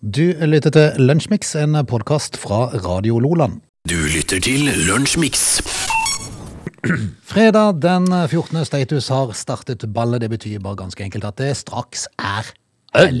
Du lytter til Lunsjmix, en podkast fra Radio Loland. Du lytter til Lunsjmix. Fredag den 14. status har startet ballet. Det betyr bare ganske enkelt at det straks er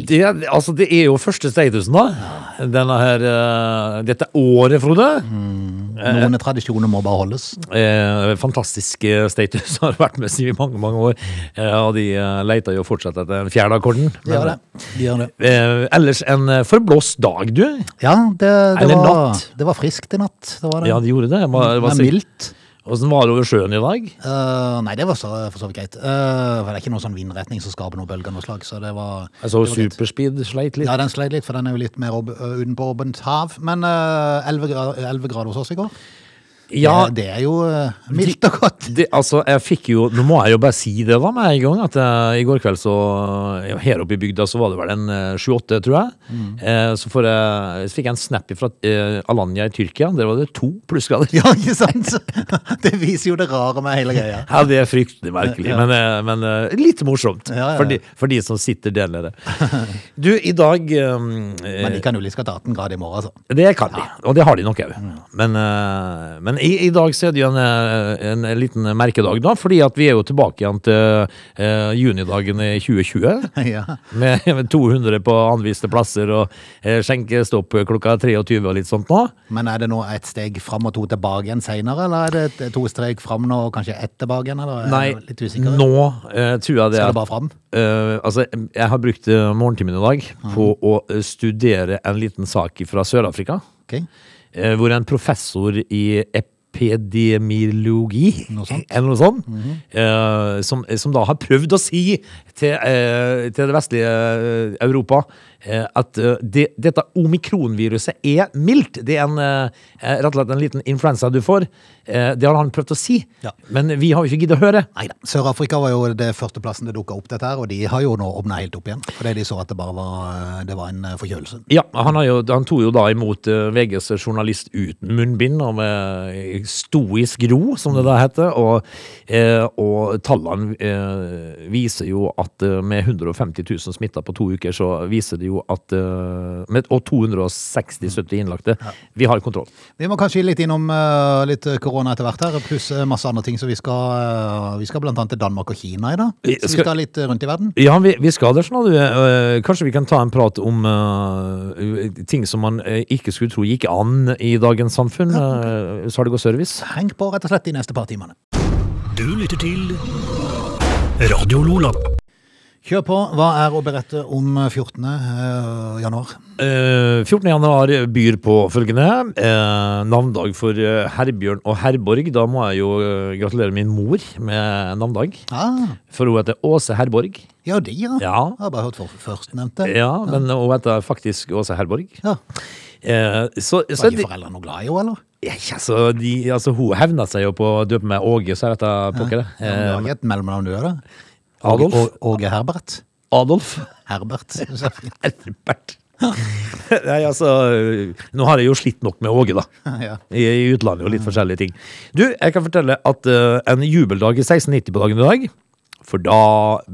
Det, altså, det er jo første statusen, da. Denne her, eh, dette året, Frode. Noen tradisjoner må bare holdes. Eh, fantastisk eh, status har vært med oss i mange mange år. Eh, og de eh, leter jo fortsatt etter den fjerde akkorden. De gjør det. De gjør det. Eh, ellers en eh, forblåst dag, du. Ja, det, det, Eller var, natt. det var friskt i natt. Det var det. Ja, de gjorde det. Hva, det hva, var mildt. Åssen var det over sjøen i dag? Eh, nei, det var så, for så vidt greit. Eh, for det er ikke noen sånn vindretning som skaper noe bølger av noe slag, så det var, det var Jeg så greit. Altså, superspeed sleit litt. Ja, den sleit litt, for den er jo litt mer ob- eh, utenpå åpent hav. Men eh, 11 grader, 11 grader hos oss i går, Ja, det, det er jo eh, mildt og godt. det, altså, jeg fikk jo Nå må jeg jo bare si det da med en gang, at eh, i går kveld så ja, Her oppe i bygda så var det vel en eh, 7-8, tror jeg. Eh, så, får jeg så fikk jeg en snap fra eh, Alanya i Tyrkia. Der var det to plussgrader. Ja, ikke sant? Det viser jo det rare med hele greia. Ja, det er fryktelig merkelig, Ja. men, eh, men eh, litt morsomt. Ja, ja, ja. For, de, for de som sitter der nede. Du, i dag eh, eh, Men de kan jo like godt ha 18 grader i morgen, altså. Det kan de, og det har de nok òg. Mm. Men, eh, men i, i dag så er det jo en, eh, en liten merkedag, da. Fordi at vi er jo tilbake igjen til eh, junidagen i 2020. Ja. Med, med 200 på anviste plasser og eh, skjenkestopp klokka 23 og litt sånt nå. Men er det nå et steg fram og to tilbake igjen seinere, eller er det et- to steg fram nå og kanskje ett tilbake igjen? Eller? Jeg Nei, er litt usikker. nå eh, tror jeg Skal det er det bare fram? Eh, altså, jeg har brukt eh, morgentimen i dag Mm. på å eh, studere en liten sak fra Sør-Afrika. Ok. eh, hvor en professor i epidemiologi Noe sånt. Mhm. eller noe sånt, eh, som, som da har prøvd å si til, eh, til det vestlige eh, Europa eh, at eh, det, dette omikronviruset er mildt. Det er en, eh, eh, rett og slett en liten influensa du får. Eh, det har han prøvd å si, Ja. men vi har jo ikke giddet å høre. Neida. Sør-Afrika var jo det førsteplassen det dukka opp dette her, og de har jo nå åpna helt opp igjen. Fordi de så at det bare var, det var en eh, forkjølelse. Ja, han, har jo, han tok jo da imot eh, VGs journalist uten munnbind, og med stoisk ro, som det da heter. Og, eh, og tallene eh, viser jo at eh, med 150 000 smitta på to uker, så viser det jo at eh, med, Og 260-70 innlagte. Vi har kontroll. Vi må kanskje litt innom eh, litt korona etter hvert her, pluss eh, masse andre ting. Så vi skal, eh, vi skal blant annet til Danmark og Kina i dag. Vi Så vi skal- skal litt eh, rundt i verden. Ja, vi, vi skal der sånn. Kanskje vi kan ta en prat om eh, ting som man eh, ikke skulle tro gikk an i dagens samfunn. eh, Salg og service. Heng på rett og slett de neste par timene. Du lytter til Radio Lola. Kjør på. Hva er å berette om 14. eh, januar? Eh, 14. januar byr på følgende. Eh, navndag for eh, Herbjørn og Herborg. Da må jeg jo eh, gratulere min mor med navndag. Ah, For hun heter Åse Herborg. ja, de, ja. Ja. Jeg har bare hørt for førstnevnte. Ja, men hun heter faktisk Åse Herborg. Ja. Eh, så, så Var de de, foreldrene noe glad i henne, eller? ja, altså, de, altså, hun hevna seg jo på å døpe meg Åge, så er dette pokker det. Ja, men det var Eh, ikke et mellomnavn du hadde. Adolf. Åge- Å- Åge Herbert. Adolf. Herbert. Herbert. Nei, altså Nå har jeg jo slitt nok med Åge, da. ja. I, I utlandet og litt forskjellige ting. Du, jeg kan fortelle at eh, en jubeldag i 1690 på dagen i dag, for da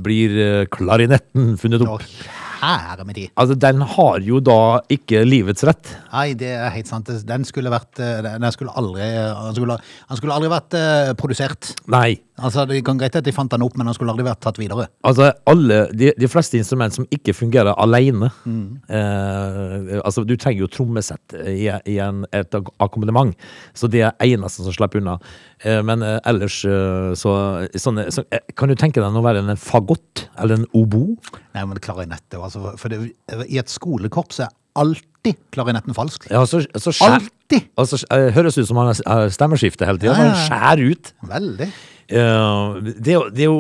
blir eh, klarinetten funnet Og opp. her er med de. Altså, den har jo da ikke livets rett. Nei, det er helt sant. Den skulle vært eh, Den skulle aldri eh, Han skulle, han skulle aldri vært eh, produsert. Nei. Altså, Det kan greit at de fant den opp, men han skulle aldri vært tatt videre. Altså, alle, de, de fleste instrument som ikke fungerer alene eh, Altså, du trenger jo trommesett i, i en, et ak- akkompagnement, så det er eneste som slipper unna. Eh, men eh, ellers eh, så, sånne, så eh, Kan du tenke deg å være en fagott eller en obo? Nei, men klarinett det var altså, For det, i et skolekorps er alltid klarinetten falsk. Ja, så, så skjær, Alltid. Altså, eh, høres ut som han har stemmeskifte hele tida. Ja, ja, ja. Han skjærer ut. Veldig. Eh, det, er jo- det, er jo,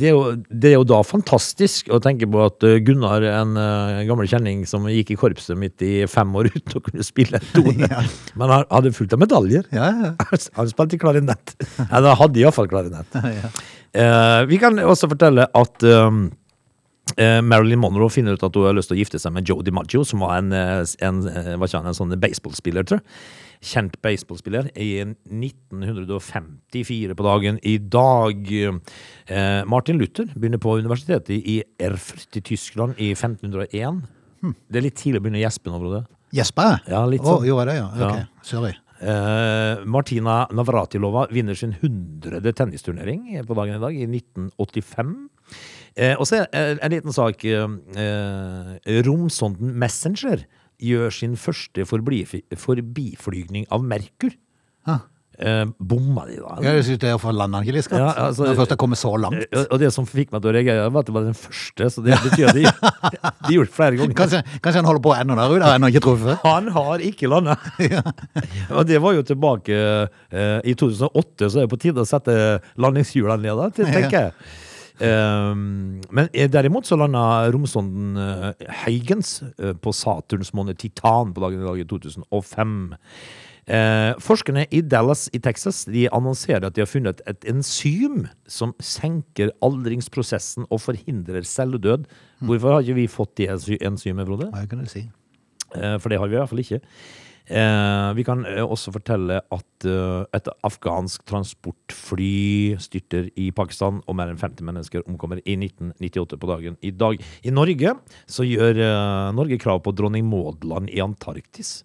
det, er jo, det er jo da fantastisk å tenke på at eh, Gunnar, en eh, gammel kjenning som gikk i korpset mitt i fem år uten å kunne spille en tone, Ja. men han hadde fullt av medaljer. Ja, ja. Han spilte klarinett. Eller han hadde iallfall klarinett. Eh, vi kan også fortelle at ehm, eh, Marilyn Monroe finner ut at hun har lyst til å gifte seg med Joe DiMaggio, som var en, eh, s- en, eh, hva kjenner, en sånn baseballspiller, tror jeg. Kjent baseballspiller i 1954 på dagen i dag. Eh, Martin Luther begynner på universitetet i Erfurt i Tyskland i 1501. Det er litt tidlig å begynne å gjespe nå, Frode. Jesper? Ja, litt Å, sånn. gjorde jeg det, ja. Ja. Ok, sorry. Eh, Martina Navratilova vinner sin 100. tennisturnering på dagen i dag, i 1985. Eh, og så er eh, en liten sak. eh, Eh, romsonden Messenger gjør sin første forblifi- forbiflygning av Merkur. Ja. Eh, bomma de da? eller? Jeg synes det er å få landa en gilliskatt. Ja, altså- Når jeg først har kommet så langt. Eh, Og det som fikk meg til å reagere, var at det var den første, så det betyr at de, de gjorde det flere ganger. Kanskje, kanskje han holder på ennå der ute, har ennå ikke truffet. Han har ikke landa! Og det var jo tilbake eh, i 2008, så er det på tide å sette landingshjulene ned, da, til- tenker jeg. Ehm, men eh, derimot så landa romsonden eh, Huygens eh, på Saturns måne Titan på dagen i dag i 2005. Eh, forskerne i Dallas i Texas de annonserer at de har funnet et enzym som senker aldringsprosessen og forhindrer celledød. Hvorfor har ikke vi fått det enzy- enzymet, Frode? Hva kan du si? Eh, For det har vi i hvert fall ikke. Eh, Vi kan eh, også fortelle at eh, et afghansk transportfly styrter i Pakistan, og mer enn 50 mennesker omkommer i 1998 på dagen i dag. I Norge så gjør eh, Norge krav på dronning Maud land i Antarktis.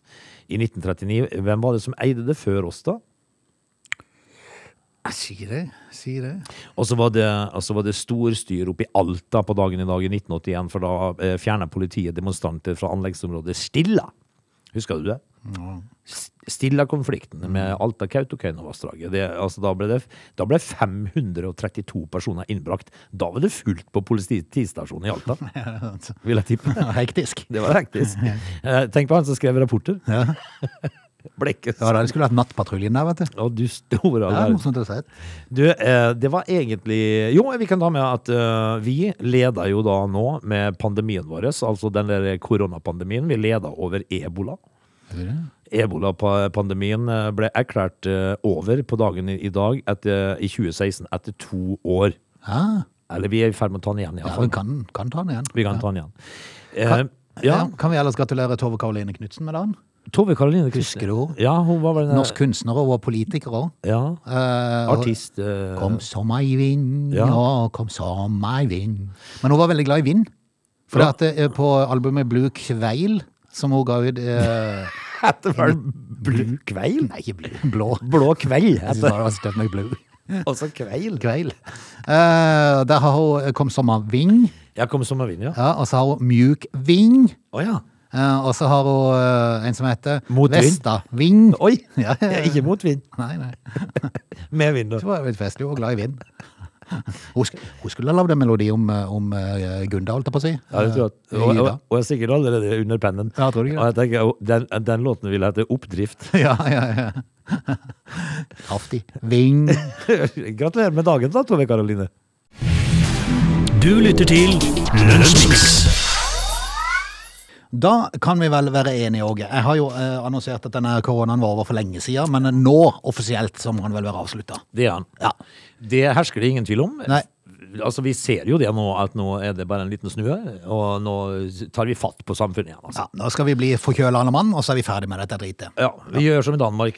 I 1939, hvem var det som eide det før oss, da? Jeg sier det, sier det. Og så var det, og så var det storstyr oppe i Alta på dagen i dag i 1981, for da eh, fjerna politiet demonstranter fra anleggsområdet Stilla. Husker du det? S- Stilla-konflikten med Alta-Kautokeino-vassdraget. Det- Altså, da, ble det- da ble 532 personer innbrakt. Da var det fullt på politistasjonen i Alta, vil jeg tippe. Hektisk. Det var hektisk. Eh, Tenk på han som skrev rapporter. Ja, Blekkes. ja da, det skulle vært nattpatruljen der, vet du. Og du store Det er verden. morsomt å si. Du, eh, det var egentlig Jo, vi kan ta med at eh, vi leder jo da nå med pandemien vår, altså den der koronapandemien. Vi leder over ebola. Ebola-pandemien eh, ble erklært eh, over på dagen i i dag etter, i 2016 etter to år. Ja, Eller vi er i ferd med å ta den igjen, ja iallfall. vi kan, kan ta den igjen. Vi kan ta den igjen. Eh, Kan- ja, Ja, Kan vi ellers gratulere Tove Karoline Knutsen med dagen? Tove Karoline Christen. Husker du henne? Ja, hun var vel den Norsk kunstner og var politiker òg. ja, Artist. artist. eh, Kom som ei vind, ja. Ja. kom som ei vind. Men hun var veldig glad i vind. For Ja. at det er på albumet Blue Kveil, som hun ga ut eh, Heter vel Blu Kveil? Nei, ikke Blue, blå. Blå kveld. Jeg synes heter- bare det var støtt med Blue Altså kveil. Kveil. Eh, der har hun Kom som ei vind, Jeg kom som en vind, ja. ja, og så har hun Mjuk vind. Å ja. eh, og så har hun eh, en som heter Motvind. Vesta Vind. Oi! Ja, ja, ja. Ikke mot vind. Nei, nei. Med vind, Det da. var litt festlig. Hun var glad i vind. Hun, sk hun skulle ha lagd en melodi om, eh, om eh, Gunda, holdt jeg på å si. Ja, det tror jeg. Eh, Og, og, Gyda. og jeg er sikkert allerede under pennen. Ja, tror du ikke Og jeg tenker, å, den, den låten vil hete Oppdrift. Ja, ja, ja. Kraftig. Ving. Gratulerer med dagen, da, Tove Karoline. Du lytter til Lunsjmix. Da kan vi vel være enige, Åge. Jeg har jo eh, annonsert at denne koronaen var over for lenge siden, men nå offisielt så må den vel være avslutta. Det er han. Ja. Det hersker det ingen tvil om. Nei. Altså, Vi ser jo det nå, at nå er det bare en liten snue, og nå tar vi fatt på samfunnet igjen. altså. ja. Nå skal vi bli forkjøla alle mann, og så er vi ferdig med dette dritet. Ja, Vi gjør som i Danmark.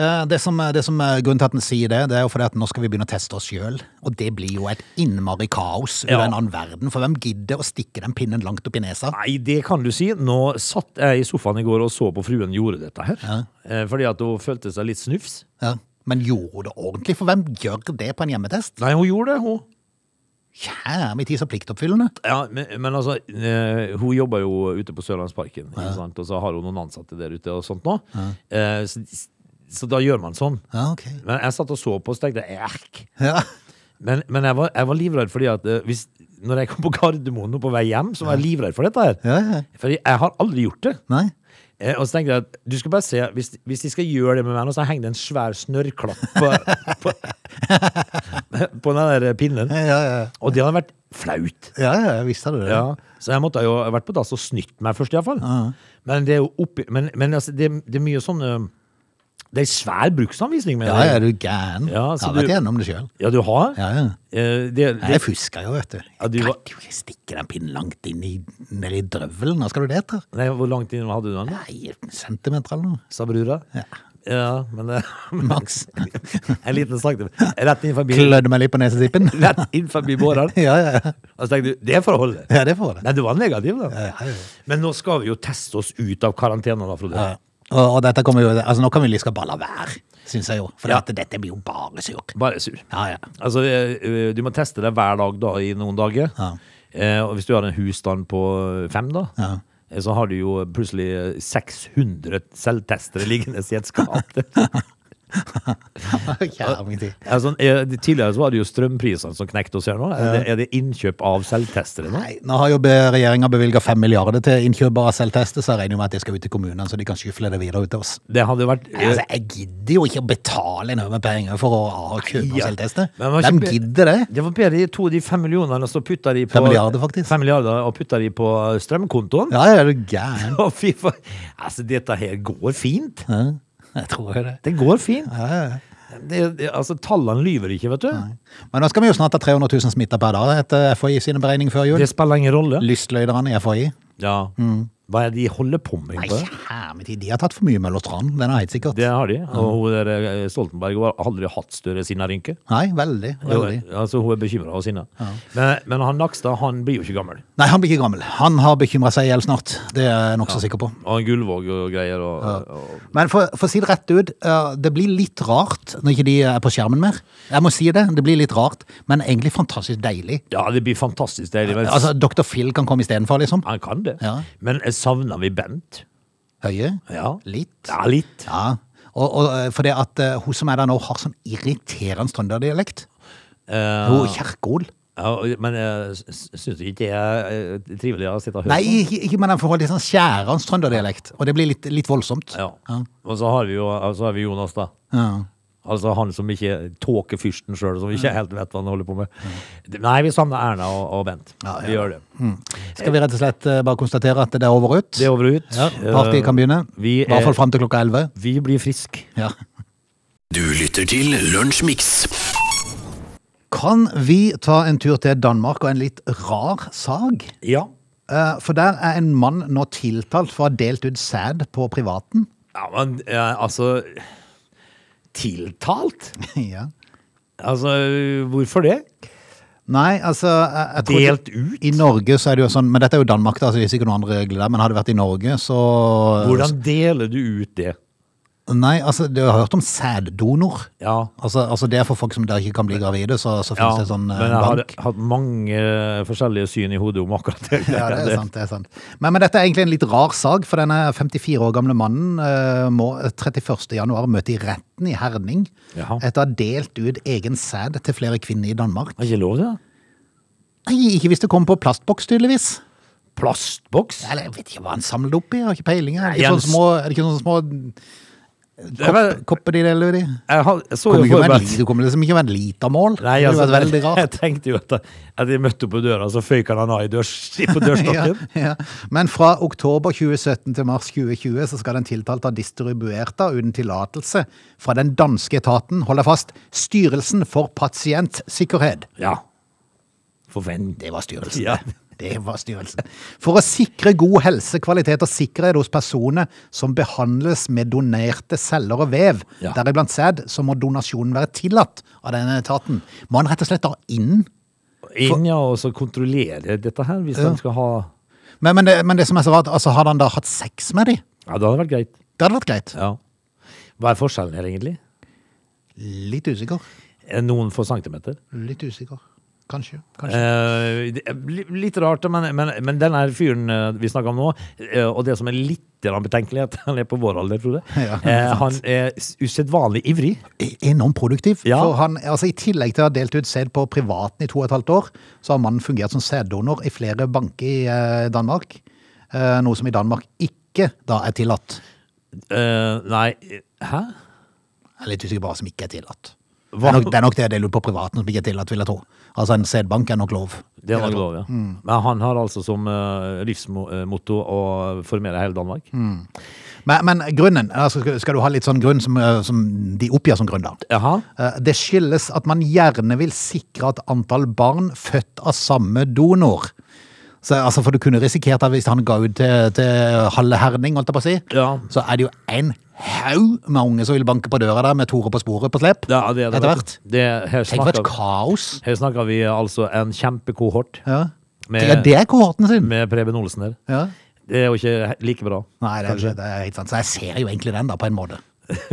Eh, Det som, det som er Grunnen til at den sier det, det er jo fordi at nå skal vi begynne å teste oss sjøl. Og det blir jo et innmari kaos i Ja. en annen verden. For hvem gidder å stikke den pinnen langt opp i nesa? Nei, det kan du si. Nå satt jeg i sofaen i går og så på fruen gjorde dette her. Eh, Fordi at hun følte seg litt snufs. Ja. Men gjorde hun det ordentlig? For hvem gjør det på en hjemmetest? Nei, hun gjorde det, hun. Kjære min tid, så pliktoppfyllende. Ja, men, men altså, eh, hun jobber jo ute på Sørlandsparken, ikke sant? og så har hun noen ansatte der ute og sånt nå. Eh, så, så da gjør man sånn. Ja, ok. Men jeg satt og så på og så tenkte jeg, erk. Ja. Men, men jeg, var, jeg var livredd fordi at eh, hvis, når jeg kom på Gardermoen nå på vei hjem, så var jeg livredd for dette her. Ja, ja. For jeg har aldri gjort det. Nei? Eh, og så tenkte jeg at du skal bare se, hvis, hvis de skal gjøre det med meg nå, så henger det en svær snørrklapp på, på, på den der pinnen. Ja, ja. Og det hadde vært flaut. Ja, ja, jeg visste det. Ja, så jeg måtte jo ha vært på dass og snytt meg først, iallfall. Men det er jo oppi Men, men altså, det, det er mye sånn ø, Det er svær bruksanvisning, mener Ja, ja, er du gæren? Ja, jeg så har vært du- gjennom det sjøl. Ja, du har? Ja, ja. Eh, Det, Nei, det, Jeg fusker jo, vet du. Jeg Ja, du var- kan jo ikke stikke den pinnen langt inn i, ned i drøvelen. Hva skal du det etter? nei, hvor langt inn hadde du den? da? Nei, en centimeter eller noe. Sa brura. Ja, men det, Max. En liten sak til. Rett inn forbi, Klødde meg litt på nesetippen. rett inn forbi bårene. ja, ja, ja. Og så tenkte du, det får holde. ja, det får det. Nei, du var negativ, da. Ja, ja, ja. Men nå skal vi jo teste oss ut av karantenen, da, Frode. Ja. Og, og dette kommer jo, altså nå kan vi like skal bare la være, synes jeg jo. For Ja. at dette blir jo bare surk. Bare sur. Ja, ja. Altså, eh, du må teste deg hver dag da, i noen dager. Ja. Eh, og hvis du har en husstand på fem, da, Ja. eh, så har du jo plutselig 600 selvtestere liggende i et skap. Kjære min tid. altså, eh, tidligere så var det jo strømprisene som knekte oss her nå. Er, det, er det innkjøp av selvtestere nå? Nei, nå har jo be- regjeringen bevilget 5 milliarder til innkjøp av selvtester, så jeg regner jo med at det skal ut til kommunene, så de kan skyfle det videre ut til oss. Det hadde vært eh, Nei, altså, jeg gidder jo ikke å betale en haug med penger for å ha kjøpe Ja. selvtester. Men man må Hvem ikke be- gidder det? Det var bedre de to de fem millionene, og så putta de på Fem milliarder, faktisk. Fem milliarder, og putta de på strømkontoen. Ja, ja, er du gæren? Å, fy faen. Altså, dette her går fint. Ja, jeg tror jo det. Det går fint. Ja, ja, ja. Det, det, altså, tallene lyver ikke, vet du. Men nå skal vi jo snart ha 300 000 smitter per dag etter FHI sine beregninger før jul. Det spiller ingen rolle. Lystløyderne i FHI. Ja. Hva er det de holder på med? Nei, egentlig? kjære min tid, de har tatt for mye Møllerstrand, den er helt sikkert. Det har de. Og hun der, eh, Stoltenberg hun har aldri hatt større sinnarynke. Nei, veldig, veldig. Altså, hun er bekymra og sinna. Men, men han Nakstad han blir jo ikke gammel. Nei, han blir ikke gammel. Han har bekymret seg ihjel snart, det er jeg nok så sikker på. Og han Gullvåg og greier. Og, og, Men for, for å si det rett ut, eh, det blir litt rart når ikke de er på skjermen mer. Jeg må si det, det blir litt rart, men egentlig fantastisk deilig. ja, det blir fantastisk deilig. Men Altså, Dr. Phil kan komme istedenfor, liksom. han kan det. Ja. Men eh, savner vi Bent? Høye. Ja. Litt. Ja, litt. Ja. Og, og eh, for det at eh, hun som er der nå, har sånn irriterende trønderdialekt. Eh, Hun Kjerkol. ja, men jeg syns du ikke det er eh, trivelig å sitte og høre Nei, ikke, ikke men den får litt sånn skjærende trønderdialekt, og det blir litt, litt voldsomt. Ja. Ja. Og så har vi jo så har vi Jonas, da. Ja. Altså han som ikke tåker fyrsten sjøl, som Mm. ikke helt vet hva han holder på med. Nei, vi savner Erna og, og Bent. Ja, ja. Vi gjør det. Skal vi rett og slett eh, bare konstatere at det er over og ut? Det er over og ut. Ja, partiet kan begynne. Eh, Vi, I hvert fall er, fram til klokka elleve. vi blir friske. Ja. Du lytter til Lunsjmix. Kan vi ta en tur til Danmark og en litt rar sag? Ja. Eh, For der er en mann nå tiltalt for å ha delt ut sæd på privaten. ja, men eh, altså Tiltalt? ja. Altså, hvorfor det? Nei, altså jeg, jeg tror Delt ikke- ut? I Norge så er det jo sånn, men dette er jo Danmark, da, så det er sikkert noen andre regler der. Men hadde det vært i Norge, så Hvordan deler du ut det? Nei, altså, du har hørt om sæddonor. Ja. Altså, altså det er for folk som der ikke kan bli gravide, så, så finnes ja. det sånn eh, men jeg har bank. hatt mange forskjellige syn i hodet om akkurat det. Ja, det er sant. det er sant. Men, men dette er egentlig en litt rar sak, for denne 54 år gamle mannen eh, må 31. januar møte i retten i Herning Jaha. etter å ha delt ut egen sæd til flere kvinner i Danmark. Har ikke lov til det? Nei, ikke hvis det kom på plastboks, tydeligvis. Plastboks? Eller jeg vet ikke hva han samlet opp i, jeg har ikke peiling. Er det Nei, ikke han- sånne små, er det ikke sånne små er vel- kopp, kopper de deler ut i? Jeg, har, jeg så Kommer jo ikke for med meg en, li- det kommer liksom ikke med en litermål. Nei, det altså, hadde vært veldig Jeg rart. tenkte jo at, at jeg møtte opp på døra, så føyk han han av i dørs, på dørstokken. Ja, ja. Men fra oktober 2017 til mars 2020 så skal den tiltalte ha distribuert da, uten tillatelse fra den danske etaten, hold deg fast, Styrelsen for pasientsikkerhet. Ja. For venn. Det var styrelsen. Ja. Det var styrelsen. For å sikre god helse, kvalitet og sikkerhet hos personer som behandles med donerte celler og vev, Ja. deriblant sæd, så må donasjonen være tillatt av denne etaten. Må han rett og slett da inn Inn ja, og så kontrollere dette her, hvis de skal ha Men, men, det, men det som er så rart, altså hadde han da hatt sex med de? Ja, det hadde vært greit. Det hadde vært greit. Ja. Hva er forskjellen her, egentlig? Litt usikker. Er Noen få centimeter? Litt usikker. Kanskje. kanskje. Eh, det er li- litt rart, men, men, men den her fyren eh, vi snakker om nå, eh, og det som er litt grann betenkelig, at han er på vår alder, Frode, Ja, eh, han er s- usedvanlig ivrig. Enormt produktiv. Ja. For han, altså, I tillegg til å ha delt ut sæd på privaten i to og et halvt år, så har mannen fungert som sæddonor i flere banker i eh, Danmark. Eh, noe som i Danmark ikke da er tillatt. Eh, nei, eh, hæ? Jeg er litt usikker på hva som ikke er tillatt. Det Hva- er, nok, det er nok det å dele ut på privaten som ikke er tillatt, vil jeg tro. Altså En sædbank er nok lov. Det er vil jeg nok tro. lov, ja. Men han har altså som eh, livsmotto å formere hele Danmark. Men, men grunnen, altså skal, skal du ha litt sånn grunn som, eh, som de oppgir som grunn, da? Jaha. Eh, Det skyldes at man gjerne vil sikre at antall barn født av samme donor Så, altså, for du kunne risikert at hvis han ga ut til, til halve Herning, holdt jeg på å si, Ja. så er det jo en haug med unge som vil banke på døra der med Tore på sporet på slep. Ja, det er det. Etter vet hvert. du. Det, her, Tenk for et snakker, kaos. vi- her snakker vi altså en kjempekohort Ja. Med- ja, det er kohorten sin. med Preben Olsen her. Ja. Det er jo ikke he- like bra. Nei, det er, det er helt sant. Så jeg ser jo egentlig den, da, på en måte.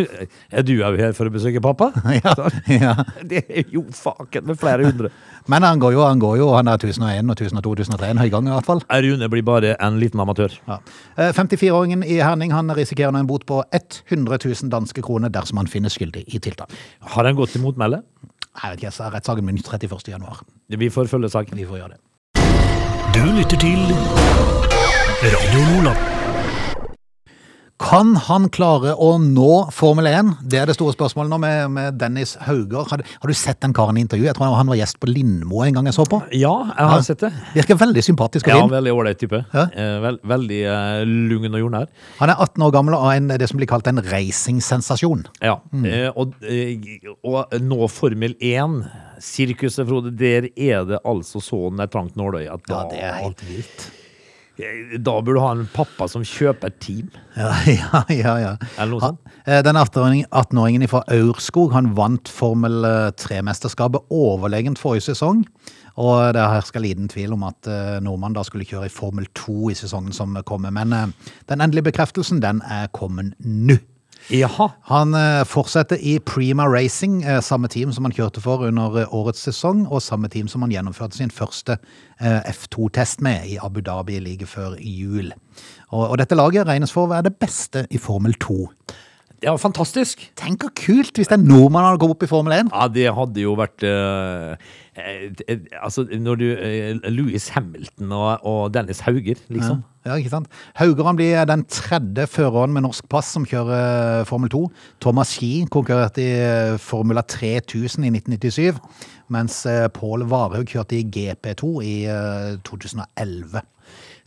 Er du òg her for å besøke pappa? Ja, Sånn. ja. Det er jo faken med flere hundre. Men han går jo, han går jo. Han er 1001 og 1002, 2003, en høygang i hvert fall. Rune blir bare en liten amatør. Ja. Eh, 54-åringen i Herning han risikerer nå en bot på 100 000 danske kroner dersom han finnes skyldig i tiltak. Har han gått til motmæle? Jeg vet ikke, jeg sa rettssaken min 31. januar. Vi får følge saken. Vi får gjøre det. Du lytter til Radio Lola. Kan han klare å nå Formel 1? Det er det store spørsmålet nå med, med Dennis Hauger. Har, du- har du sett den karen i intervju? Jeg tror han var gjest på Lindmo en gang jeg så på. Ja, jeg har Ja. sett det. Virker veldig sympatisk og Ja, fin. Veldig ålreit type. Ja. Eh, Vel, veldig eh, lugn og jordnær. Han er 18 år gammel og er en, det som blir kalt en racing-sensasjon. Ja. Mm. Eh, og, eh, og nå Formel 1-sirkuset, Frode, der er det altså så nær trangt nåløye at da, Ja, eh, det er helt vilt. da burde du ha en pappa som kjøper et team. Ja, ja, ja. ja. Eller noe Han- eh, Den 18-åringen 18-åringen fra Aurskog han vant Formel 3-mesterskapet overlegent forrige sesong. Og det hersker liten tvil om at eh, nordmannen da skulle kjøre i Formel 2 i sesongen som kommer. Men eh, den endelige bekreftelsen den er kommet nå. Jaha. Han eh, fortsetter i Prima Racing, eh, samme team som han kjørte for under eh, årets sesong, og samme team som han gjennomførte sin første eh, F2-test med i Abu Dhabi like før jul. Og, og dette laget regnes for å være det beste i Formel 2. Ja, fantastisk. Tenk hvor kult hvis det er nordmann som går opp i Formel 1! Ja, det hadde jo vært eh, eh, eh, Altså, når du eh, Louis Hamilton og, og Dennis Hauger, liksom. Ja, ikke sant? Hauger han blir eh, den tredje føreren med norsk pass som kjører eh, Formel 2. Thomas Ski konkurrerte i eh, Formula 3000 i 1997, mens eh, Pål Varhaug kjørte i GP2 i eh, 2011.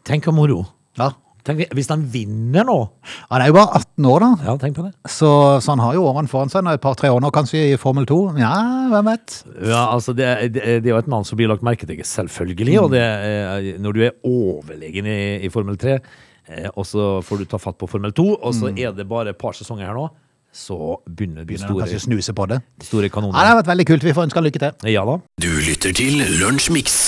Tenk hvor moro. Ja. Tenk, hvis han vinner nå! Han er jo bare 18 år, da, Ja, tenk på det. så, så han har jo årene foran seg. nå, Et par-tre år nå, kanskje, i Formel 2. Ja, hvem vet? Ja, altså det, er- det, er- det er jo et navn som blir lagt merke til, selvfølgelig. Og det, er- eh, når du er overlegen i, i Formel 3, eh, og så får du ta fatt på Formel 2, og så er det bare et par sesonger her nå, så begynner Mm. Begynner de han store, kanskje å snuse på det. de Ja, store det kanonene. har vært veldig kult. Vi får ønske han lykke til. Ja da. Du lytter til Lunsjmix.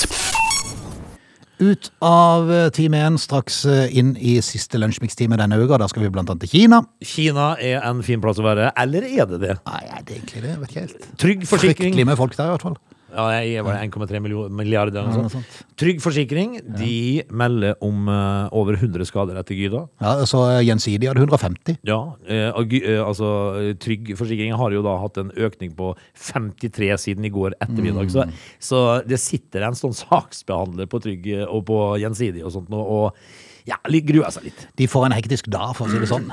Ut av eh, time 1, straks eh, inn i siste lunsjmikstime denne uka. Da skal vi blant annet til Kina. Kina er en fin plass å være. Eller er det det? Nei, er det egentlig det? Jeg vet ikke helt. Trygg forsikring. Fryktelig med folk der, i hvert fall. Ja, jeg jeg var det 1,3 miljo- milliarder eller Ja, noe noe sånt. Trygg forsikring. De melder om eh, over 100 skader etter Gyda. Ja, så eh, Gjensidige hadde 150. Ja, eh, og Gy- eh, altså eh, Trygg forsikring har jo da hatt en økning på 53 siden i går ettermiddag. Så, så det sitter en sånn saksbehandler på Trygg eh, og på Gjensidig og sånt nå og ja, litt, gruer seg litt. De får en hektisk dag, for å si det sånn.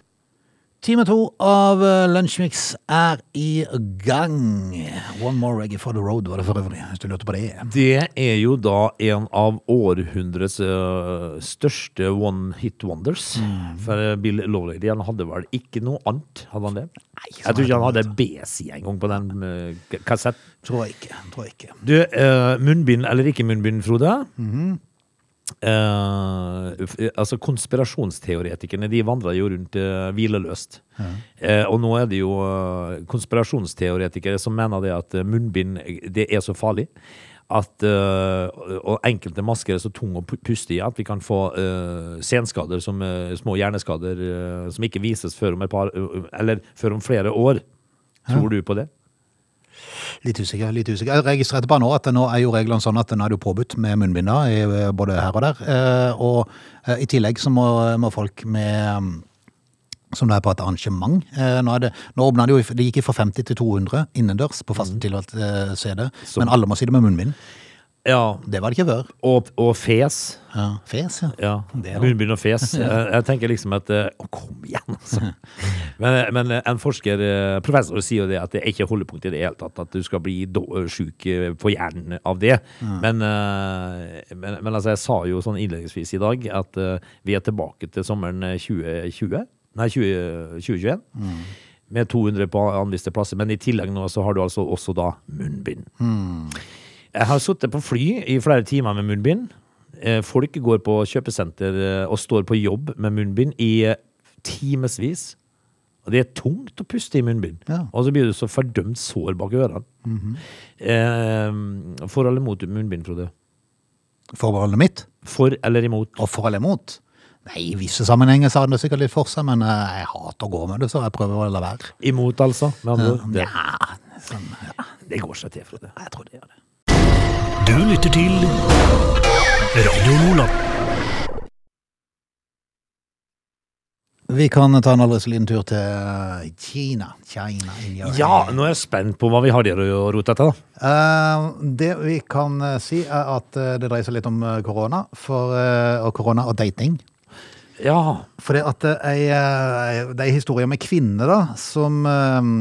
Time to av eh, Lunsjmix er i gang. One more reggae for the road, var det for øvrig, hvis du lurte på det. Det er jo da en av århundrets eh, største one hit wonders. For eh, Bill Lawley han hadde vel ikke noe annet, hadde han det? jeg tror ikke han hadde B-side engang på den eh, k- kassetten. Tror jeg ikke. Tror jeg ikke. Du, eh, munnbind eller ikke munnbind, Frode? Eh, f- eh, altså Konspirasjonsteoretikerne de vandrer jo rundt eh, hvileløst. Eh, og nå er det jo eh, konspirasjonsteoretikere som mener det at eh, munnbind eh, det er så farlig. At, eh, og enkelte masker er så tunge å pu- puste i at vi kan få eh, senskader, som, eh, små hjerneskader, eh, som ikke vises før om, et par, eh, eller før om flere år. Tror du på det? Litt usikker. litt usikker. Jeg registrerte bare nå at nå er jo reglene sånn at nå er det jo påbudt med munnbind da, i, eh, både her og der. Eh, og eh, i tillegg så må, må folk med mm, som det er på et arrangement. Eh, Nå, er det, nå åpnet det jo, i- det gikk fra 50 til 200 innendørs på faste tilholdt CD, Så- men alle må si det med munnbind. Ja, Det var det ikke før. og, og fes. Ja. Fes, ja. Ja, Det er det. Munnbind og fes. Jeg, jeg tenker liksom at eh, Å, kom igjen, altså! Men, men en forsker, eh, professor, sier jo det at det er ikke holdepunkt i det hele tatt. At du skal bli do- sjuk eh, på hjernen av det. Men, eh, men, men altså, jeg sa jo sånn innledningsvis i dag at eh, vi er tilbake til sommeren eh, 2020. Nei, 20, 2021. Mm. Med 200 på anviste plasser. Men i tillegg nå så har du altså også da munnbind. Jeg har sittet på fly i flere timer med munnbind. Eh, Folk går på kjøpesenter eh, og står på jobb med munnbind i eh, timevis. Og det er tungt å puste i munnbind. Ja. Og så blir du så fordømt sår bak ørene. eh, for eller imot munnbind, Frode? Forbeholdet mitt. For eller imot? Og for eller imot? Nei, i visse sammenhenger så hadde det sikkert litt for seg, men eh, jeg hater å gå med det, så jeg prøver å la være. Imot, altså. Med andre ord. Det, Ja, sånn, ja. det går seg til, Frode. Jeg tror det gjør det. Du lytter til Radio Lola. Vi kan ta en aldri så liten tur til eh, Kina. China in your Ja, hand. nå er jeg spent på hva vi har der å rote etter, da. Eh, det vi kan eh, si, er at eh, det dreier seg litt om eh, korona, for, eh, og korona og dating. Ja. For det at eh, ei, eh, det er historier med kvinner da, som, eh,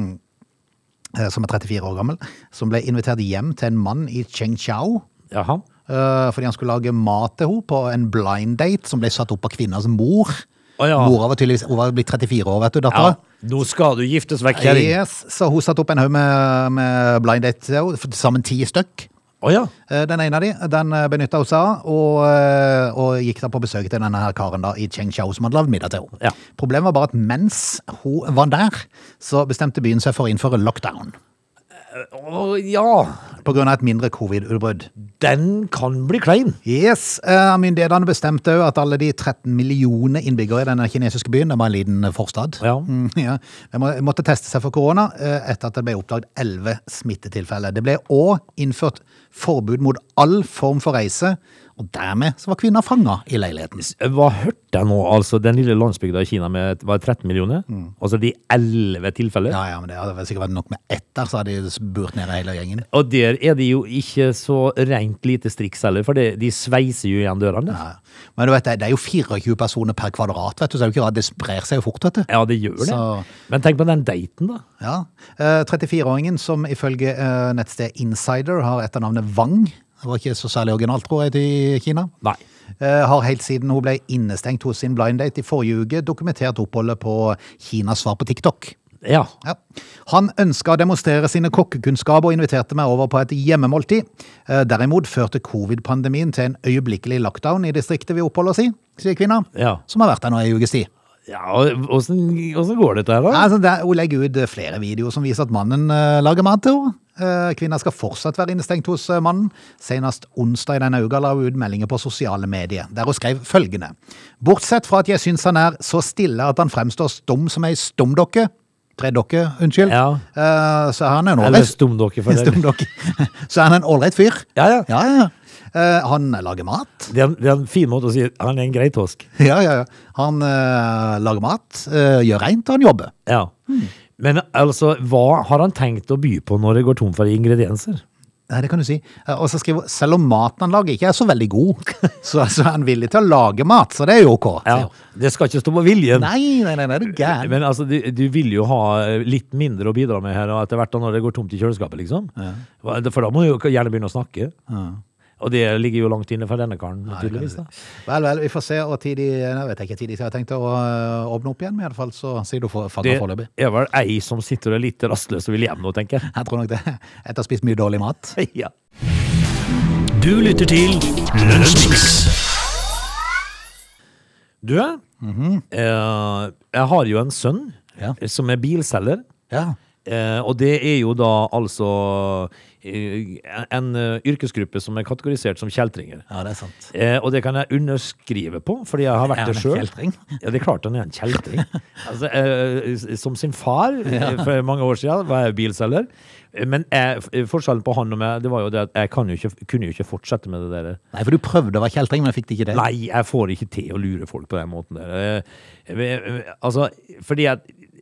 eh, som er 34 år gammel, som ble invitert hjem til en mann i Chengqiao, Jaha. Eh, fordi han skulle lage mat til henne på en blind date som ble satt opp av kvinnens mor. Å ja. Mora var tydeligvis hun var blitt 34 år, vet du, ja. dattera. Nå skal du giftes vekk, kjerring. Å Yes, så hun satte opp en haug med, med blind date til henne, for til sammen ti stykk. ja. Eh, Den ene av de, den benytta hun seg av, og, eh, og gikk da på besøk til denne her karen da, i Chengxiao som hadde lagd middag til henne. Ja. Problemet var bare at mens hun var der, så bestemte byen seg for å innføre lockdown. Å ja. På grunn av et mindre covid-utbrudd. Den kan bli klein. Yes, eh, Myndighetene bestemte jo at alle de 13 millioner innbyggere i denne kinesiske byen, det var en liten forstad, Ja. Mm, ja. de må- måtte teste seg for korona eh, etter at det ble oppdaget 11 smittetilfeller. Det ble òg innført forbud mot all form for reise, og dermed så var kvinner fanga i leiligheten. Hva hørte jeg nå? Altså, Den lille landsbygda i Kina med var det 13 millioner? Altså de 11 tilfeller? Mm. Ja, ja, men Det hadde vel sikkert vært nok med ett der, så hadde de burt ned hele gjengen. Og der er de jo ikke så rent lite striks heller, for det, de sveiser jo igjen dørene. Ja. Men du vet, det det er jo 24 personer per kvadrat, vet du, så det er jo ikke rart det sprer seg jo fort. vet du. Ja, det gjør det. Så- Men tenk på den daten, da. Ja. Eh, 34-åringen som ifølge eh, nettstedet Insider har etternavnet Wang. Det var ikke så særlig originalt, tror jeg, til Kina. Nei. Eh, Har helt siden hun ble innestengt hos sin blind date i forrige uke, dokumentert oppholdet på Kinas svar på TikTok. Ja. Ja. Han ønska å demonstrere sine kokkekunnskaper og inviterte meg over på et hjemmemåltid. Eh, Derimot førte covid-pandemien til en øyeblikkelig lockdown i distriktet vi oppholder oss i, sier kvinna, Ja. som har vært der nå i ukes tid. ja og åssen åssen går dette her, da? Altså, det, hun legger ut eh, flere videoer som viser at mannen eh, lager mat til henne. Eh, Kvinna skal fortsatt være innestengt hos eh, mannen. Senest onsdag i denne uka la hun ut meldinger på sosiale medier, der hun skrev følgende. Bortsett fra at jeg syns han er så stille at han fremstår stum som ei stumdokke. Tredokke, unnskyld. Ja. Eh, så er han en Eller ålreit stumdokke, for det. Stumdokke. Så er han en ålreit fyr. Ja, ja. ja, ja. Eh, han lager mat. Det er, en, det er en fin måte å si han er en grei tosk. Ja, ja, ja. Han eh, lager mat, eh, gjør reint, og han jobber. Ja. Mm. Men altså, hva har han tenkt å by på når det går tom for ingredienser? Nei, det kan du si. Eh, Og så skriver hun selv om maten han lager ikke er så veldig god, så, så er han villig til å lage mat, så det er jo ok. sier Ja. hun. Det skal ikke stå på viljen. Nei, nei, nei, nei, er du gæren? Men altså, du, du vil jo ha eh, litt mindre å bidra med her og etter hvert da når det går tomt i kjøleskapet, liksom. Hva- For da må du jo gjerne begynne å snakke. Og det ligger jo langt inne for denne karen, tydeligvis. da. Vel, vel, vi får se og tid de Jeg vet ikke tid de har tenkt å eh, åpne opp igjen, men i alle fall så sier du for- Det fanger foreløpig. er vel ei som sitter og er litt rastløs og vil hjem nå, tenker jeg. Jeg tror nok det. Etter å ha spist mye dårlig mat. ja. Du lytter til Lunsjmix. Du, eh, jeg har jo en sønn Mhm. Ja. eh, som er bilselger. Ja. Eh, og det er jo da altså eh, en eh, yrkesgruppe som er kategorisert som kjeltringer. ja, det er sant. Eh, og det kan jeg underskrive på, fordi jeg har vært Er han det en sjøl. kjeltring? Ja, det er klart han er en kjeltring. altså, eh, s- som sin far eh, for mange år siden var jeg bilselger. Eh, Men jeg, f- forskjellen på han og meg det var jo det at jeg kan jo ikke, kunne jo ikke fortsette med det der. eh, Nei, for du prøvde å være kjeltring, men fikk det ikke det. Nei, jeg får ikke til å lure folk på den måten der. Eh, eh, eh, Altså, eh, fordi at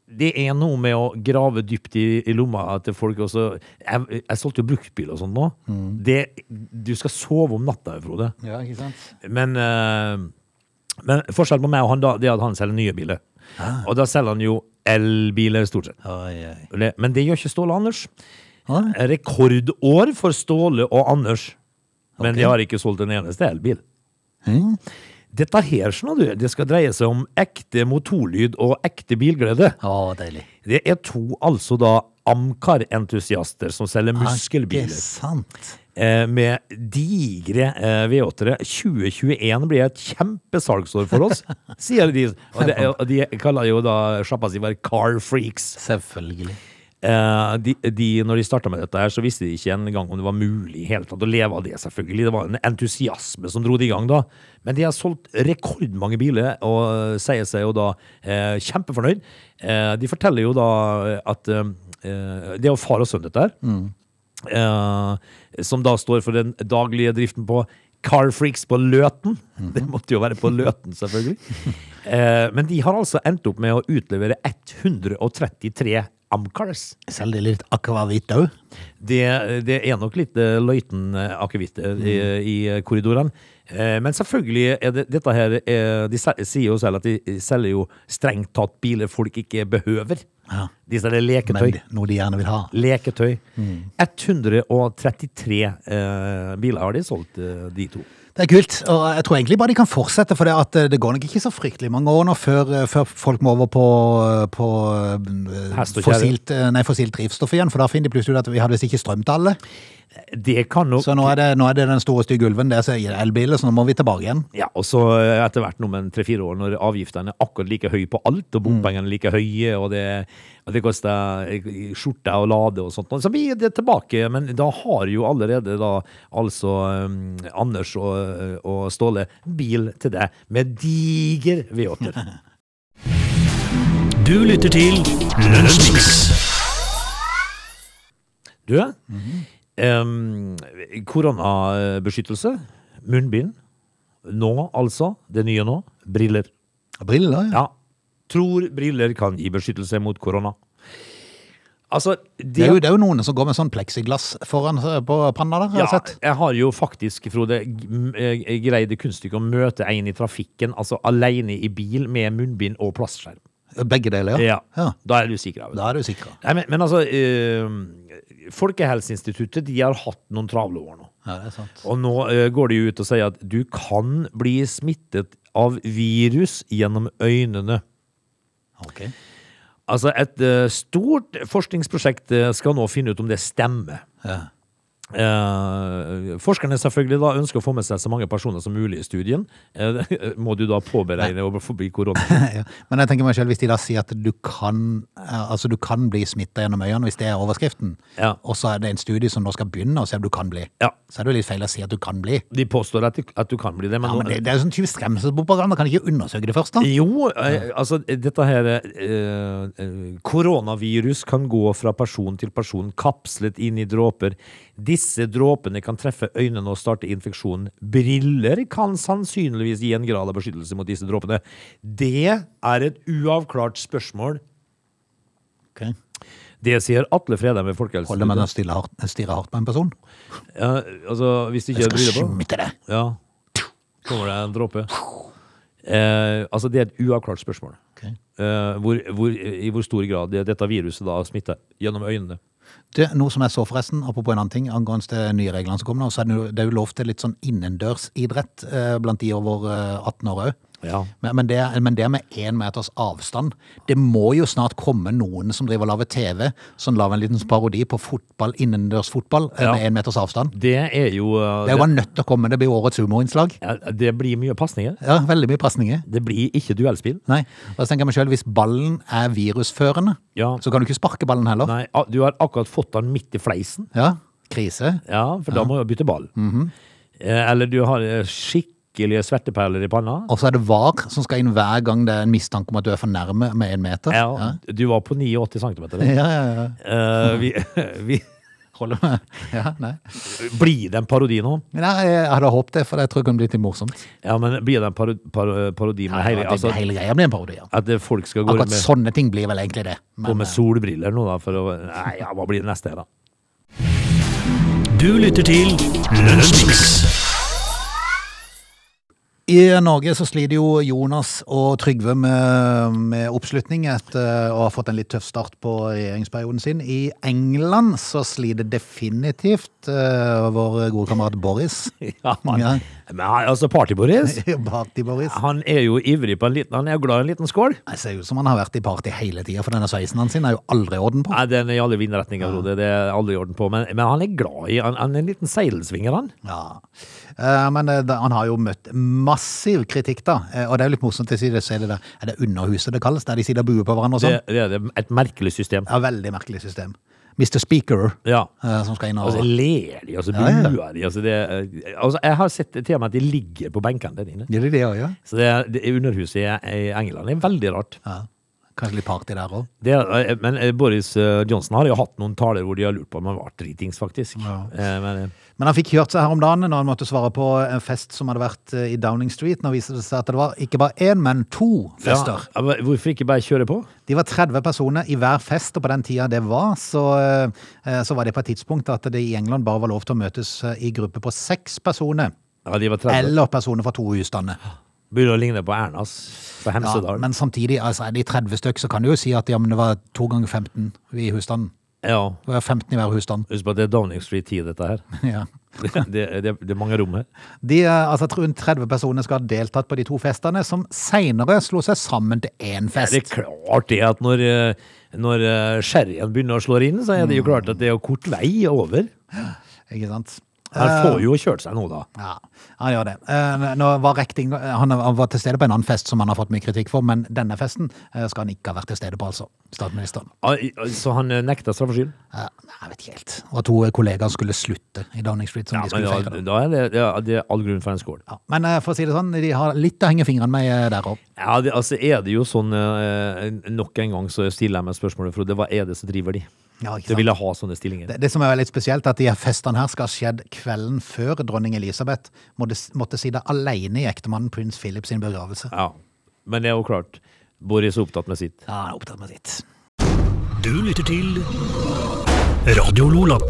det er noe med å grave dypt i, i lomma til folk også. Jeg, jeg solgte jo bruktbil og sånn nå. Det, du skal sove om natta, Frode. Ja, ikke sant? Men, eh, men forskjellen på meg og han da, det er at han selger nye biler. Og da selger han jo elbiler, stort sett. Oi, oi. Det- Men det gjør ikke Ståle og Anders. Nei. Rekordår for Ståle og Anders. Men Ok. de har ikke solgt en eneste elbil. Dette her sånn, du, det skal dreie seg om ekte motorlyd og ekte bilglede. Å, deilig. Det er to altså da Amcar-entusiaster som selger Er muskelbiler det sant? eh, med digre eh, V8-ere. 2021 blir et kjempesalgsår for oss, sier de. Og de, og de kaller jo da sjappa si for Car Freaks. Selvfølgelig. Eh, de, de, når de starta med dette, her så visste de ikke engang om det var mulig i hele tatt å leve av det. selvfølgelig. Det var en entusiasme som dro det i gang da. Men de har solgt rekordmange biler og eh, sier seg jo da eh, kjempefornøyd. Eh, de forteller jo da at eh, eh, Det er jo far og sønn, dette her. Eh, som da står for den daglige driften på Carfreaks på Løten. Mhm. Det måtte jo være på Løten, selvfølgelig. Eh, men de har altså endt opp med å utlevere 133 Amcars. Selv det litt akvavitt òg. Det, det er nok litt eh, løyten eh, akevitt eh, i, Mhm. i korridorene. Eh, Men selvfølgelig er det, dette her eh, De se- sier jo selv at de selger jo strengt tatt biler folk ikke behøver. Ja. De selger leketøy. Men noe de gjerne vil ha. Leketøy. Mm. 133 eh, biler har de solgt, eh, de to. Det er kult, og jeg tror egentlig bare de kan fortsette, for det, at eh, det går nok ikke så fryktelig mange år nå før, eh, før folk må over på, eh, på eh, Hest og kjerre. fossilt, eh, nei, fossilt drivstoff igjen, for da finner de plutselig ut at vi hadde visst ikke strøm til alle. Det kan nok Så nå er det, nå er det den store stygge ulven, det er så er det elbiler, så nå må vi tilbake igjen. Ja, og så eh, etter hvert om en tre-fire år når avgiftene er akkurat like høye på alt, og Mm. bompengene er like høye, og det, og det koster eh, skjorte og lade og sånt. Så blir det tilbake, men da har jo allerede da altså eh, Anders og, eh, og Ståle bil til deg med diger V8-er. Du lytter til Lunsjmix. Du, Mhm. em, koronabeskyttelse, munnbind, nå altså, det nye nå, briller. Briller, ja. Ja. Tror briller kan gi beskyttelse mot korona. Altså, det, Det er, jo, det er jo noen som går med sånn plexiglass foran eh, på panna der, har jeg ja, sett. jeg har jo faktisk, Frode, g- m- eh, greid det kunststykket å møte en i trafikken, altså alene i bil med munnbind og plastskjerm. Begge deler, ja. Ja. Da er du sikker. av det. Da er du sikra. Nei, men, men altså, eh, Folkehelseinstituttet de har hatt noen travle år nå. Ja, det er sant. Og nå eh, går de jo ut og sier at du kan bli smittet av virus gjennom øynene. Ok. Altså, et eh, stort forskningsprosjekt eh, skal nå finne ut om det stemmer. Ja. Eh, forskerne selvfølgelig da ønsker å få med seg så mange personer som mulig i studien. Eh, må du da påberegne å forbi korona? Ja. Men jeg tenker meg selv, hvis de da sier at du kan, eh, altså du kan bli smitta gjennom øynene, hvis det er overskriften, Ja. og så er det en studie som nå skal begynne og se om du kan bli, Ja, så er det jo litt feil å si at du kan bli. de påstår at du, at du kan bli det, men, Ja, men det, det er jo sånn typisk skremselspropaganda, kan de ikke undersøke det først da? Jo, eh, altså dette her eh, eh, Koronavirus kan gå fra person til person, kapslet inn i dråper. Disse dråpene kan treffe øynene og starte infeksjonen. Briller kan sannsynligvis gi en grad av beskyttelse mot disse dråpene. Det er et uavklart spørsmål. Ok. Det sier Atle Fredheim ved Holder man å Folkehelseinstituttet. stille hardt, stirre hardt på en person? Ja, altså, hvis du ikke Jeg har skal briller på smitte deg! Ja. Kommer det en dråpe? Eh, altså, det er et uavklart spørsmål. Ok. Eh, hvor, hvor, I hvor stor grad det- dette viruset da smitter gjennom øynene. Du, noe som jeg så forresten, apropos en annen ting, angående de nye reglene som kommer nå, så er det, jo- det er jo lov til litt sånn innendørsidrett eh, blant de over eh, 18 år òg. Ja. Men, men, det, men det med én meters avstand Det må jo snart komme noen som driver og lager TV, som lager en liten parodi på fotball, innendørsfotball eh, Ja. med én meters avstand. Det er jo eh, Det er jo bare nødt til å komme. Det blir årets humorinnslag. ja, det blir mye pasninger. Ja, Veldig mye pasninger. Det blir ikke duellspill. Nei. Og så tenker jeg meg selv, Hvis ballen er virusførende, Ja. så kan du ikke sparke ballen heller. Nei, ah, du har akkurat fått den midt i fleisen. Ja, Krise. Ja, for da må du bytte ball. Mhm. eh, eller du har eh, skikkelige svetteperler i panna. Og så er det VAR som skal inn hver gang det er en mistanke om at du er for nærme med én meter. Ja, du var på 89 cm. Ja, ja, ja. Eh, vi, vi, Holder med. Ja, nei. Blir det en parodi nå? nei, jeg hadde håpet det, for jeg tror det kunne blitt litt morsomt. Ja, men blir det en paro paro parodi med hele At altså, det, hele greia blir en parodi. Ja. At det- folk skal gå rundt Akkurat med, sånne ting blir vel egentlig det. gå Men, med solbriller nå, da? For å, nei, ja, hva blir det neste, da? Du lytter til Lunsjmix. I Norge så sliter jo Jonas og Trygve med, med oppslutning etter eh, å ha fått en litt tøff start på regjeringsperioden sin. I England så sliter definitivt eh, vår gode kamerat Boris. Ja, man, Ja. Men han- altså, Party-Boris Party-Boris. Han er jo ivrig på en liten Han er jo glad i en liten skål. Det ser ut som han har vært i party hele tida, for denne sveisen hans sin er jo aldri i orden på. Nei, Den er i alle vindretninger, Frode. Det er aldri orden på. Men, men han er glad i Han, han er en liten seilsvinger, han. Ja. Eh, Men eh, da- han har jo møtt massiv kritikk, da. Eh, Og det er jo litt morsomt å si det, så er det der Er det underhuset det kalles, der de sitter og buer på hverandre og Det, sånn? det er et merkelig system. Ja, veldig merkelig system. Mr. Speaker, Ja. eh, som skal inn og Og så ler de, og så Ja, ja. buer de. Altså det, er- altså jeg har sett til og med at de ligger på benkene der inne. Gjør de det òg, ja? Så det, er- det er underhuset i i England det er veldig rart. ja? Kanskje litt party der òg. Det, er- men eh, Boris eh, Johnson har jo hatt noen taler hvor de har lurt på om han var dritings, faktisk. Eh, Men, eh, Men han fikk hørt seg her om dagen når han måtte svare på en fest som hadde vært eh, i Downing Street. Nå viste det seg at det var ikke bare én, men to fester. Ja, men hvorfor ikke bare kjøre på? De var 30 personer i hver fest, og på den tida det var, så, eh, så var det på et tidspunkt at det i England bare var lov til å møtes eh, i grupper på seks personer. Ja, de var 30. Eller personer fra to husstander. Begynner å ligne på Ernas fra Ja, Hemsedal. men samtidig, altså, er de 30 stykk, så kan du jo si at ja, men det var to ganger 15 i husstanden. Ja, Det var 15 i hver husstand. Husk på at det er Downing Street 10, dette her. ja. Det, det, det, det er mange rom her. De, eh, altså, rundt 30 personer skal ha deltatt på de to festene, som seinere slo seg sammen til én Det er fest. klart det at når, eh, når eh, sherryen begynner å slå inn, så er det jo klart at det er jo kort vei over. Ikke sant? Han får jo kjørt seg nå, da. Ja, han gjør det. Eh, Nå var rekting, han han var til stede på en annen fest som han har fått mye kritikk for, men denne festen eh, skal han ikke ha vært til stede på, altså. Statsministeren. Ai, ai, Ah, Så han eh, nekta straffskyld? Eh, Nei, jeg vet ikke helt. Og to kollegaer skulle slutte i Downing Street. som Ja, de men skulle da, feire. da. da er det, ja, det er all grunn for en skål. Ja, men eh, for å si det sånn, de har litt å henge fingrene med eh, der òg. Ja, det, altså er det jo sånn eh, Nok en gang så stiller jeg meg spørsmålet, Frode. Hva er det som driver de? Ja, ikke Til å sant? ville ha sånne stillinger? Det, det som er litt spesielt, er at de her festene her skal ha skjedd kvelden før dronning Elisabeth måtte, måtte sitte alene i ektemannen prins Philip sin begravelse. Ja. Men det er jo klart. Boris er opptatt med sitt. Ja, han er opptatt med sitt. Du lytter til Radio Lola.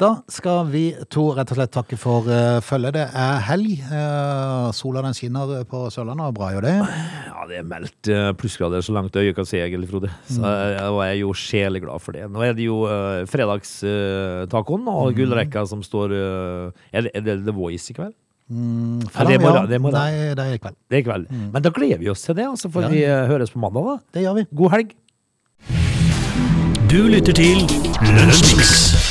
Da skal vi to rett og slett takke for uh, følget. Det er helg. Eh, sola den skinner på Sørlandet, og bra jo det. Ja, det er meldt eh, plussgrader så langt øyet kan se, egentlig, Frode. Mm. Så eh, og jeg er jo sjeleglad for det. Nå er det jo eh, fredagstacoen eh, Mm. og gullrekka som står eh, Er det, er det The Voice i kveld? Ja, det er i morgen, det er i morgen. Nei, det er i kveld. Det er i kveld. Men da gleder vi oss til det, og så Mm. får Ja. vi eh, høres på mandag, da. Det gjør vi. God helg! Du lytter til Lunsjmix.